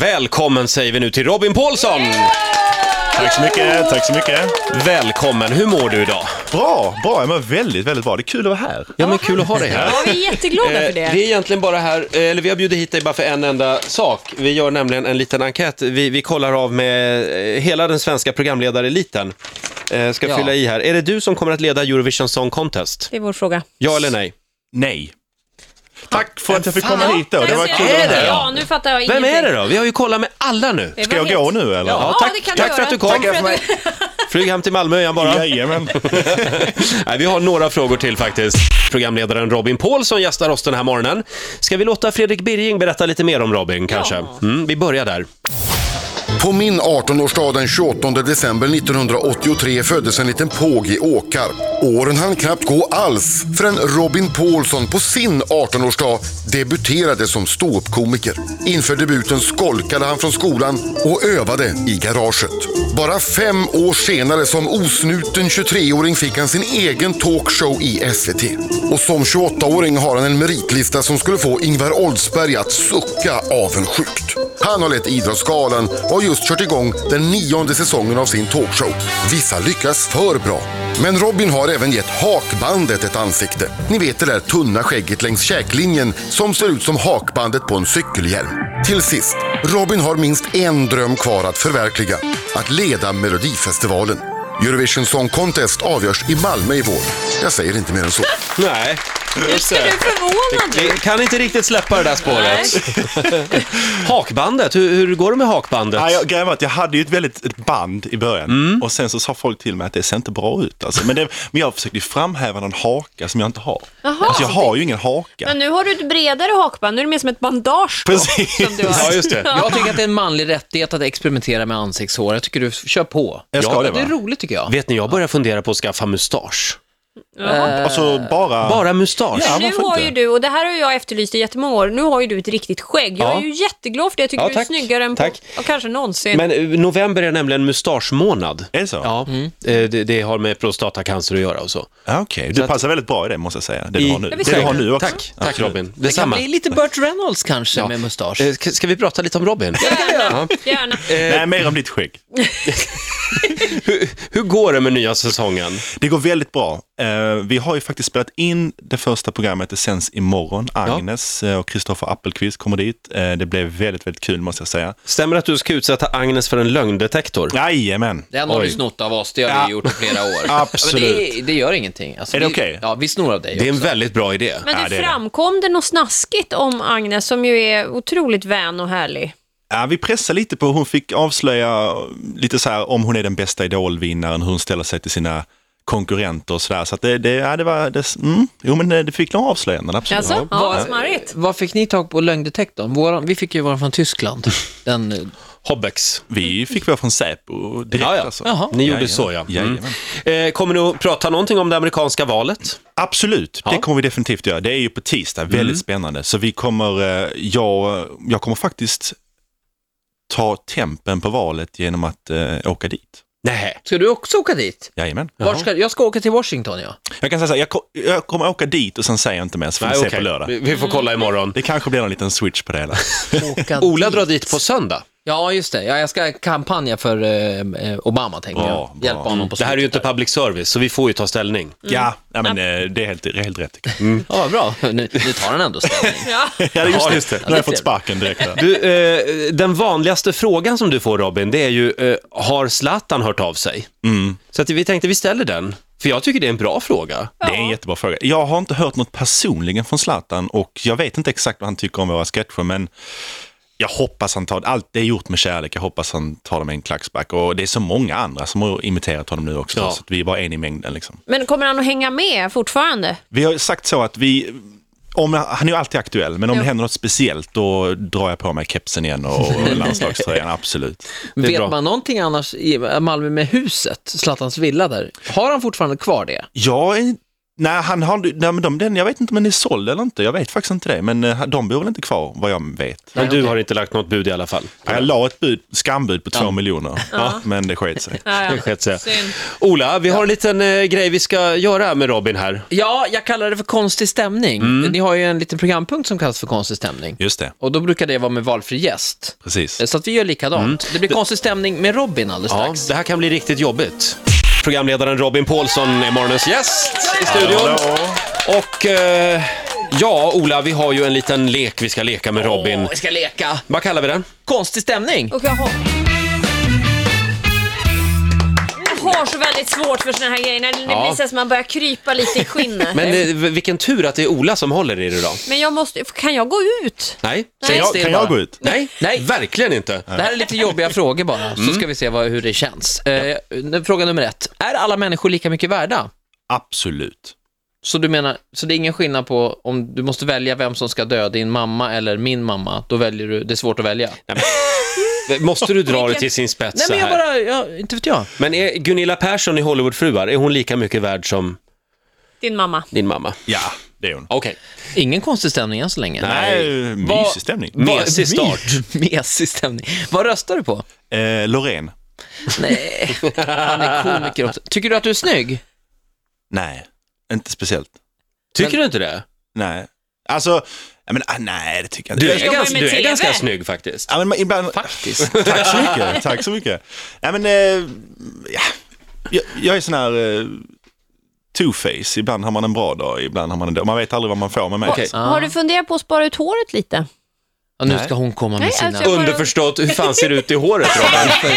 Välkommen säger vi nu till Robin Paulsson! Tack så mycket, tack så mycket. Välkommen, hur mår du idag? Bra, bra. Jag mår väldigt, väldigt bra. Det är kul att vara här. Ja men kul att ha dig här. Ja, vi är jätteglada Eh, Det för det. är egentligen bara här, eh, eller vi har bjudit hit dig bara för en enda sak. Vi gör nämligen en liten enkät. Vi, vi kollar av med eh, hela den svenska programledareliten. Eh, Ska Ja. fylla i här. Är det du som kommer att leda Eurovision Song Contest? Det är vår fråga. Ja eller nej? Nej. Tack för att jag fick komma hit då. Det var Nej, kul men- att vara det? här. Alltså, Ja, nu fattar jag Vem ingenting. är det då? Vi har ju kollat med alla nu. Det Ska var jag gå helt- nu eller? Ja, Ja, tack det kan du tack för göra. att du kom. Tackar för mig. Flyg hem till Malmö igen bara. Jajamän. Nej, vi har några frågor till faktiskt. Programledaren Robin Paulsson gästar oss den här morgonen. Ska vi låta Fredrik Birging berätta lite mer om Robin kanske? Mm, vi börjar där. På min 18-årsdag den 28 december 1983 föddes en liten påg i Åkarp. Åren hann knappt gå alls förrän Robin Paulsson på sin 18-årsdag debuterade som ståuppkomiker. Inför debuten skolkade han från skolan och övade i garaget. Bara fem år senare som osnuten 23-åring fick han sin egen talkshow i SVT. Och som 28-åring har han en meritlista som skulle få Ingvar Oldsberg att sucka avundsjukt. Han har lett Idrottsgalan och har just kört igång den nionde säsongen av sin talkshow. Vissa lyckas för bra. Men Robin har även gett hakbandet ett ansikte. Ni vet det där tunna skägget längs käklinjen som ser ut som hakbandet på en cykelhjälm. Till sist, Robin har minst en dröm kvar att förverkliga. Att leda Melodifestivalen. Eurovision Song Contest avgörs i Malmö i vår. Jag säger inte mer än så. Nej, Just det. Du är förvånad vi nu. kan inte riktigt släppa det där spåret. Nej. Hakbandet, hur, hur går det med hakbandet? Nej, jag, grejen var att jag hade ju ett väldigt ett band i början och sen så sa folk till mig att det ser inte bra ut. Alltså. Men, det, men jag försökte ju framhäva någon haka som jag inte har. Jaha. Alltså, jag har ju ingen haka. Men nu har du ett bredare hakband, nu är det mer som ett bandage då, Precis. som du Ja, har. just det. Jag tycker att det är en manlig rättighet att experimentera med ansiktshår. Jag tycker du kör på. Jag ska ja, det, det är va? roligt tycker jag. Vet ni, jag börjar fundera på att skaffa mustasch. Alltså bara... Bara mustasch. Ja, nu varför har inte? ju du, och det här har jag efterlyst i jättemånga år, nu har ju du ett riktigt skägg. Jag Ja. är ju jätteglad för det, jag tycker Ja, du är tack. snyggare än på, Tack. och kanske någonsin. Men eh, november är nämligen mustaschmånad. Är det så? Ja, eh, det, det har med prostatacancer att göra och så. Ja, Okej, Så du att- passar väldigt bra i det måste jag säga. Det du I- har nu. Jag Det vill du säga har det. nu också. Tack, tack Absolut. Robin. Det kan Detsamma. bli lite Burt Reynolds kanske med mustasch. Eh, ska- Ska vi prata lite om Robin? Gärna, gärna. Nej, mer om ditt skägg. Hur, hur går det med nya säsongen? Det går väldigt bra. Eh, vi har ju faktiskt spelat in det första programmet, det sänds imorgon. Agnes eh, och Kristoffer Appelqvist kommer dit. Eh, det blev väldigt, väldigt kul måste jag säga. Stämmer det att du ska utsätta Agnes för en lögndetektor? Jajamän! Den har Oj. du snott av oss, det har vi Ja. gjort i flera år. Absolut. Ja, men det, det gör ingenting. Alltså, Är det vi- okej? Ja, vi snor av dig Det är en också. väldigt bra idé. Men Ja, du, det är det. framkom det något snaskigt om Agnes som ju är otroligt vän och härlig? Ja, vi pressade lite på, hon fick avslöja lite så här om hon är den bästa idolvinnaren, hur hon ställer sig till sina konkurrenter och sådär. Så att det, det, ja, det var, det, mm, jo men eh, det fick några avslöjanden, absolut. Alltså, ja, Vad- smarrigt. Vad fick ni tag på lögndetektorn? Våran, vi fick ju våran från Tyskland. Den, eh, Hobbex. Vi fick vara från Säpo direkt Ja, ja. alltså. Jaha. Ni gjorde Jajamän. så, ja. Jajamän. Eh, kommer ni att prata någonting om det amerikanska valet? Absolut, det kommer vi definitivt göra. Det är ju på tisdag, väldigt spännande. Så vi kommer, eh, jag, jag kommer faktiskt ta tempen på valet genom att eh, åka dit. Nej. ska du också åka dit? Jajamän. Vart ska, jag ska åka till Washington, ja. Jag kan säga så här, jag, ko- jag kommer åka dit och sen säger jag inte mer, så får vi se okej. på lördag. Mm. Vi, vi får kolla imorgon. Det kanske blir en liten switch på det hela. Åka Ola drar dit på söndag. Ja, just det. Ja, jag ska kampanja för eh, eh, Obama, tänker Bra, jag. bra. Mm. Hjälpa honom på Det här är ju inte slutet public service, så vi får ju ta ställning. Ja, ja men eh, det är helt, helt rätt. tycker jag. där. Ja, vad bra. Nu, nu tar han ändå ställning. Ja. Ja, just det. Nu har det är jag fått sparken direkt. Där. Du, eh, den vanligaste frågan som du får Robin, det är ju, eh, har Zlatan hört av sig? Mm. Så att vi tänkte vi ställer den, för jag tycker det är en bra fråga. Det är en jättebra fråga. Jag har inte hört något personligen från Zlatan och jag vet inte exakt vad han tycker om våra sketcher, men jag hoppas han tar allt det är gjort med kärlek. Jag hoppas han tar det med en klackspark och det är så många andra som har imiterat honom nu också, Ja. så att vi är bara en i mängden. Liksom. Men kommer han att hänga med fortfarande? Vi har sagt så att vi, om, han är ju alltid aktuell, men om Jo. det händer något speciellt då drar jag på mig kepsen igen och, och landslagströjan, absolut. är Vet bra. man någonting annars i Malmö med huset, Zlatans villa där? Har han fortfarande kvar det? Jag är Nej, han har, nej men de, den, jag vet inte om den är såld eller inte. Jag vet faktiskt inte det. Men eh, de bor väl inte kvar vad jag vet. Men du har inte lagt något bud i alla fall. Jag la ett bud, skambud på två miljoner. Men det sket sig. Det sket sig. Synd. Ola, vi har en liten eh, grej vi ska göra med Robin här. Ja, jag kallar det för konstig stämning. Mm. Ni har ju en liten programpunkt som kallas för konstig stämning. Just det, Och då brukar det vara med valfri gäst. precis. Eh, Så att vi gör likadant. Det blir konstig stämning med Robin alldeles Mm. Ja, strax. det här kan bli riktigt jobbigt. Programledaren Robin Paulsson är morgonens gäst i studion. Och eh, ja, Ola, vi har ju en liten lek vi ska leka med Robin. Åh, vi ska leka. Vad kallar vi den? Konstig stämning. Och jag har... Jag har så väldigt svårt för såna här grejer. När det Ja. blir så att man börjar krypa lite i skinnet. Men eh, vilken tur att det är Ola som håller i det idag. Men jag måste... Kan jag gå ut? Nej, Kan säg jag, still kan jag bara. gå ut? Nej, Nej. verkligen inte. Det här är lite jobbiga frågor bara, Mm. så ska vi se vad, hur det känns. Eh, nu- Fråga nummer ett. Är alla människor lika mycket värda? Absolut. Så du menar, så det är ingen skillnad på om du måste välja vem som ska dö, din mamma eller min mamma, då väljer du, det är svårt att välja. Nej, Måste du dra det till sin spets så men jag här? bara, jag, inte vet jag. Men är Gunilla Persson i Hollywoodfruar, är hon lika mycket värd som Din mamma. din mamma? Ja, det är hon. Okej. Ingen konstig stämning än så länge. Nej, Vad- mysig stämning. vad- Mesig start. Mesig stämning. Vad röstar du på? Eh, Loreen? Nej, han är komiker också. Tycker du att du är snygg? Nej, inte speciellt. Tycker du inte det? Nej. Alltså, jag men, ah, nej det tycker jag inte. Du Jag- är, jobbar ganska, med du är TV. ganska snygg faktiskt. Ja, men man- ibland... Faktiskt. Tack så mycket. Tack så mycket. Nej, men, eh, ja. jag, jag är sån här eh, two-face. Ibland har man en bra dag, ibland har man en dag. Man vet aldrig vad man får med mig. Okej. Har du funderat på att spara ut håret lite? Ja, nu ska hon komma med Nej, sina... alltså- bara- Underförstått, hur fan ser det ut i håret Robin?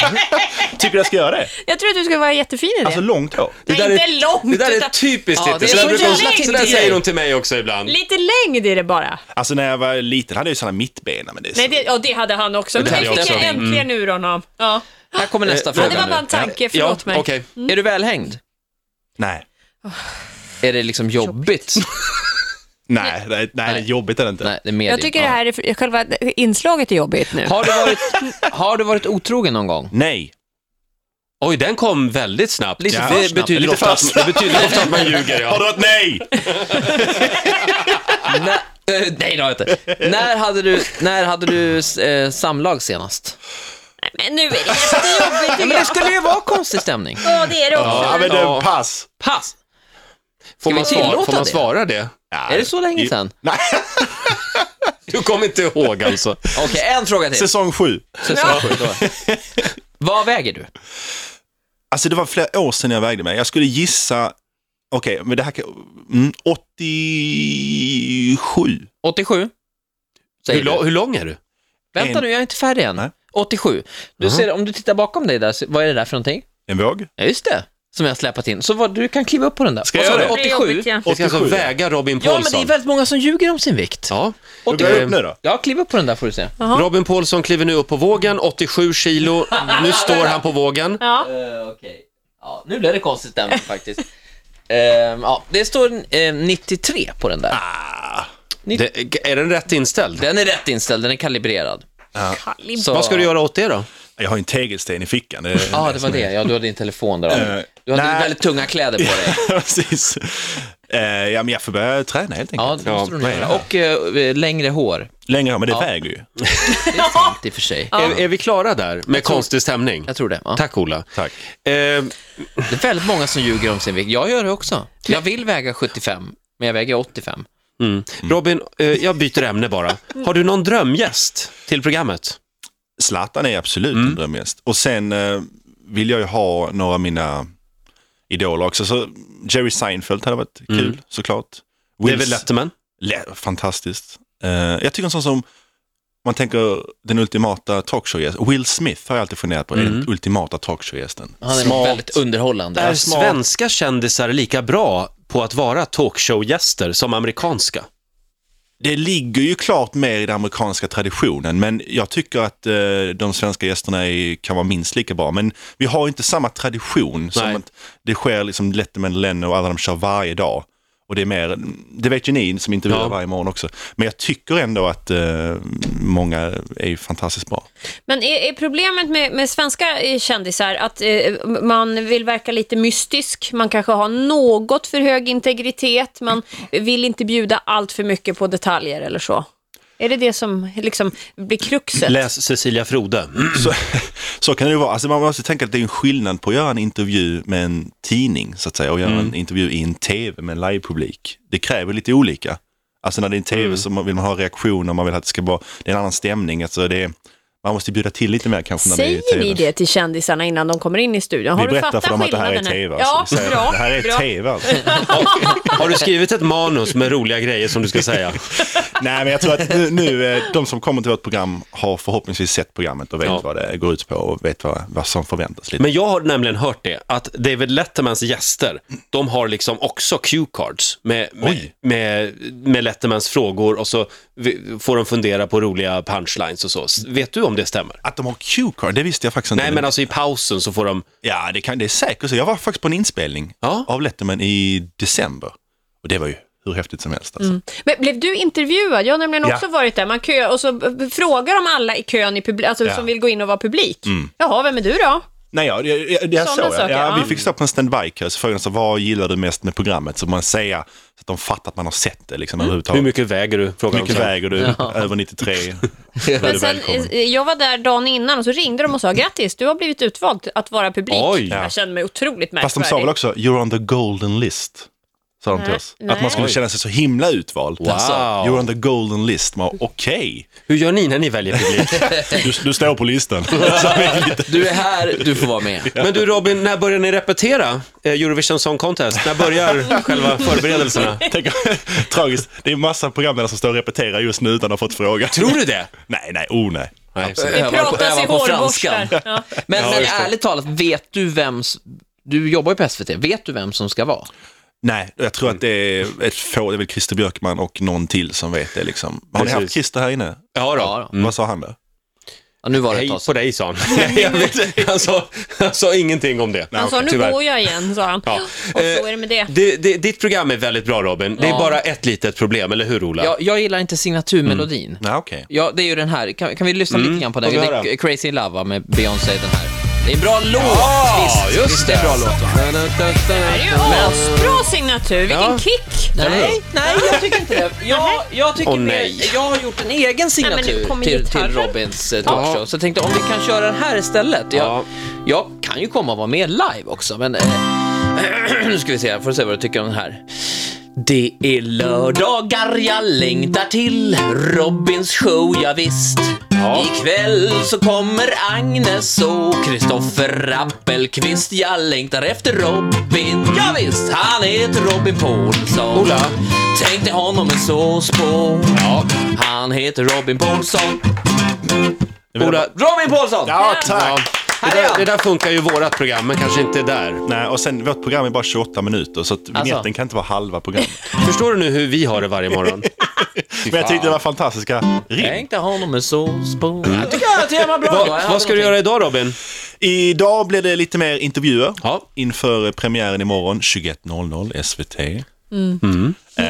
Tycker du jag ska göra det? Jag tror att du skulle vara jättefin i det. Alltså långt hår. Det Nej, inte långt, Det där är utan- typiskt Ja, Titti. det är Så där så brukar hon- jävla så där Titti. säger hon till mig också ibland. Lite längd i det bara. Alltså när jag var liten hade jag ju sådana mittbena. Men det är så... Nej, det, ja, det hade han också. Men Det hade det jag fick jag också. Mm. äntligen ur honom. Ja. Här kommer nästa Ja, det var fråga bara en nu. tanke. Ja, Förlåt mig. okej. Är du välhängd? nej. Är det liksom jobbigt? Nej, nej, nej, Nej. jobbigt är det inte. Nej, det är medium. Jag tycker det här är, själva inslaget är jobbigt nu. Har du, varit, har du varit otrogen någon gång? Nej. Oj, den kom väldigt snabbt. Lite för det, snabbt. betyder Lite ofta för att, det betyder ofta att man ljuger. Har du Ja. ett nej? Nej, eh, nej det har jag inte. När hade du, när hade du eh, samlag senast? Nej, Men nu är det jättejobbigt Ja, tycker men det jag. skulle ju vara konstig stämning. Ja, det är det också. Ja, men Ja. du, pass. Pass! Får, man vi svara, tillåta får man det? svara det? Ja. Är det så länge sedan? Nej, Du kommer inte ihåg alltså. Okej, en fråga till. säsong sju. Säsong sju, då. Vad väger du? Alltså det var flera år sedan jag vägde mig. Jag skulle gissa, okej, men det här kan, mm, 87. 87? Säger Hur, du. lo- hur lång är du? Vänta nu, jag är inte färdig än. Nej. 87. Du ser, om du tittar bakom dig där, så- vad är det där för någonting? En våg? Ja, just det. Som jag har släpat in. Så vad, du kan kliva upp på den där. Ska Vad jag sa göra du, Det är 87? jobbigt, ja. Vi ska alltså 87, ja. väga Robin Ja, men det är Paulsson. väldigt många som ljuger om sin vikt. Ja. Då går jag upp nu då. Ja, kliv upp på den där får du se. Ja. Robin Paulsson kliver nu upp på vågen, 87 kilo. Nu står han på vågen. Ja. Eh, Okej. Ja, nu blev det konstigt stämning faktiskt. Eh, ja, det står eh, 93 på den där. Det, är den rätt inställd? Den är rätt inställd, den är kalibrerad. Så- Vad ska du göra åt det då? Jag har ju en tegelsten i fickan. Det är- Ja, ah, det var det. Ja, du hade din telefon där. Eh, Adam. Du hade nej. väldigt tunga kläder på dig. Precis. Eh, ja, men jag får börja träna helt enkelt. Ja, det måste du nog göra. Och eh, längre hår. Längre hår, men det väger ju. Det är sant i och för sig. Är, är vi klara där med konstig stämning? Jag tror det. Ja. Tack Ola. Tack. Eh, Det är väldigt många som ljuger om sin vikt. Jag gör det också. Jag vill väga 75, men jag väger 85. Robin, eh, jag byter ämne bara. Har du någon drömgäst till programmet? Zlatan är absolut en drömgäst. Och sen eh, vill jag ju ha några av mina idoler också. Så Jerry Seinfeld hade varit kul såklart. David Wills- Letterman? Le- Fantastiskt. Eh, jag tycker en sån som, man tänker den ultimata talkshowgästen, Will Smith har jag alltid funderat på, är den ultimata talkshowgästen. Han är väldigt underhållande. Är smart. svenska kändisar lika bra på att vara talkshowgäster som amerikanska? Det ligger ju klart mer i den amerikanska traditionen, men jag tycker att eh, de svenska gästerna är, kan vara minst lika bra. Men vi har ju inte samma tradition Nej. som att det sker liksom Letterman, Lennon och alla de kör varje dag. Och det är mer, det vet ju ni som intervjuar Ja. varje morgon också. Men jag tycker ändå att eh, många är ju fantastiskt bra. Men är, är problemet med, med svenska eh, kändisar att eh, man vill verka lite mystisk, man kanske har något för hög integritet, man vill inte bjuda allt för mycket på detaljer eller så? Är det det som liksom blir kruxet? Läs Cecilia Frode. Så, så kan det ju vara. Alltså man måste tänka att det är en skillnad på att göra en intervju med en tidning så att säga och göra Mm. en intervju i en tv med en livepublik. Det kräver lite olika. Alltså när det är en tv Mm. så man- vill man ha reaktioner, man vill att det ska vara, det är en annan stämning. Alltså det är, man måste bjuda till lite mer kanske när det är Säger tv. ni det till kändisarna innan de kommer in i studion? Har Vi du berättar fattat för dem att det här är skillnaden? tv. Ja, Alltså. Vi säger, bra. det här är bra. tv alltså. Har du skrivit ett manus med roliga grejer som du ska säga? Nej, men jag tror att nu, nu, eh, de som kommer till vårt program har förhoppningsvis sett programmet och vet Ja. vad det går ut på och vet vad, vad som förväntas. Lite. Men jag har nämligen hört det, att David Lettermans gäster, de har liksom också cue cards med, med, Oj. med, med Lettermans frågor och så vi- får de fundera på roliga punchlines och så. S- Vet du om det stämmer? Att de har cue card, det visste jag faktiskt inte. Nej, men alltså i pausen så får de... Ja, det, kan, det är säkert så. Jag var faktiskt på en inspelning Ja. av Letterman i december. Och det var ju hur häftigt som helst. Alltså. Men blev du intervjuad? Jag har nämligen Ja. också varit där. Man kö, och så b- frågar de alla i kön i publi- alltså, Ja. Mm. som vill gå in och vara publik. Jaha, vem är du då? Nej, ja, det, det, det jag såg Sådana jag. saker, Ja, ja. vi fick stå på en standby-kö, så frågade de så, vad gillar du mest med programmet? Så man säger så att de fattar att man har sett det Mm. liksom, Hur överhuvudtaget. mycket väger du? Frågar Hur de mycket sen. väger du? Över 93? Då är du Men sen, välkommen. eh, jag var där dagen innan och så ringde de och sa grattis, du har blivit utvald att vara publik. Oj. Ja. Jag kände mig otroligt märkvärdig. Fast de sa väl också, you're on the golden list. Sa de till Nej, oss. Att nej. man skulle Oj. känna sig så himla utvald. Alltså, Wow. You're on the golden list. Man, Okej, Hur gör ni när ni väljer publik? du, du står på listan. Du är här, du får vara med. Men du Robin, när börjar ni repetera eh, Eurovision Song Contest? När börjar själva förberedelserna? Tänk, tragiskt, det är massa programledare som står och repeterar just nu utan att ha fått fråga. Tror du det? Nej, nej, oh nej. Det Övar på- pratas i övar på hårborstar. franskan. Ja. Men, Ja, men just det. ärligt talat, vet du vem... s- Du jobbar ju på SVT. Vet du vem som ska vara? Nej, jag tror att det är ett få, det är väl Christer Björkman och någon till som vet det liksom. Har ni Precis. Mm. haft Christer här inne? Ja Ja, då. då. Vad sa han då? Ja, nu var det Hej ett tag på sedan. dig sa han. Nej, jag vet inte. Han sa, han sa ingenting om det. Han sa, nu Tyvärr. går jag igen, sa han. Ja. Och så Eh, är det med det. Det, det, ditt program är väldigt bra Robin. Det är Ja. bara ett litet problem, eller hur Ola? Jag, jag gillar inte signaturmelodin. Nej, okej. Ja, det är ju den här. Kan, kan vi lyssna lite grann på den? Mm. får vi Det höra. är Crazy in Love va, med Beyoncé, den här. Det är en bra låt! visst, just visst, det är en bra låt. va? alltså, Det är ju asbra signatur, vilken Ja. kick! Nej, nej, jag tycker inte det. Jag, jag, tycker Åh, mer- nej. jag har gjort en egen signatur Nej, men nu kommer till, till gitarren. Robins eh, talkshow, så jag tänkte om vi kan köra den här istället. Jag, Ja. jag kan ju komma och vara med live också, men eh, nu ska vi se, här, får se vad du tycker om den här. Det är lördagar jag längtar till Robins show, ja, visst Ikväll så kommer Agnes och Kristoffer Appelqvist Jag längtar efter Robin, ja, visst Han heter Robin Paulsson Ola. Tänk dig honom med sås på Han heter Robin Paulsson Ola, Robin Paulsson! Ja, tack! det, Här är där, han. det där funkar ju i vårat program, men kanske inte där. Nej, och sen vårt program är bara 28 minuter så att vignetten Alltså. kan inte vara halva programmet. Förstår du nu hur vi har det varje morgon? Men jag tyckte det var fantastiska rim. Tänk dig honom med sås på Jag tycker jag att han var bra. Mm. Vad- Jag hade vad ska du någonting. göra idag Robin? Idag blir det lite mer intervjuer Ja. inför premiären imorgon 21.00 SVT. Det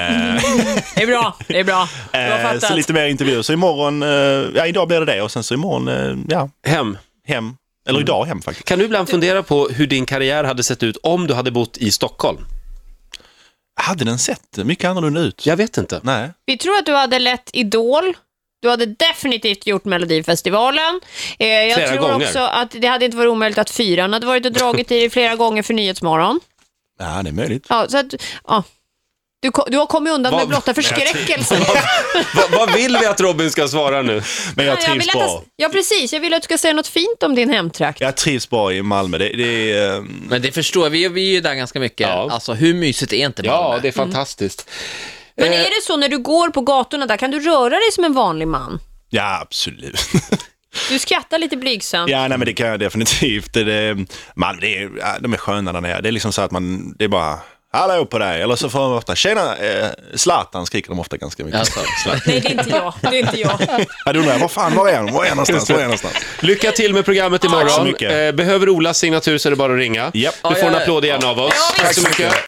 är bra, det är bra. Bra Eh, så fattat. lite mer intervjuer. Så imorgon, eh, ja idag blir det det och sen så imorgon, eh, ja, Hem. hem. Eller idag hem faktiskt. Kan du ibland fundera på hur din karriär hade sett ut om du hade bott i Stockholm? Hade den sett mycket annorlunda ut? Jag vet inte. Nej. Vi tror att du hade lett Idol. Du hade definitivt gjort Melodifestivalen. Eh, jag Flera tror gånger. också att det hade inte varit omöjligt att fyran hade varit och dragit i dig flera gånger för Nyhetsmorgon. Ja, det är möjligt. Ja, så att, ja. du, ko- du har kommit undan Vad- med blotta förskräckelsen. Va, vad vill vi att Robin ska svara nu? Men jag trivs vill att- bra. Ja, precis. Jag vill att du ska säga något fint om din hemtrakt. Jag trivs bra i Malmö. Det, det är, eh, Men det förstår jag, vi, vi är ju där ganska mycket. Ja. Alltså hur mysigt är inte Malmö? Ja, det är fantastiskt. Men Eh. är det så när du går på gatorna där, kan du röra dig som en vanlig man? ja, absolut. Du skrattar lite blygsamt. ja, nej, men det kan jag definitivt. Det, det, Malmö, det är, ja, de är sköna där nere. Det är liksom så att man, det är bara, hallå på dig. Eller så får de ofta, tjena, eh, Zlatan skriker de ofta ganska mycket. Alltså, Nej, det är inte jag. Det är inte jag. Ja, då undrar jag, vad fan, var är han? Var är han någonstans? Var är han någonstans? Mm. Lycka till med programmet imorgon. så mycket. Eh, Behöver Olas signatur så är det bara att ringa. Japp. Du får en Ja, ja. applåd igen av oss. Ja, Tack så mycket.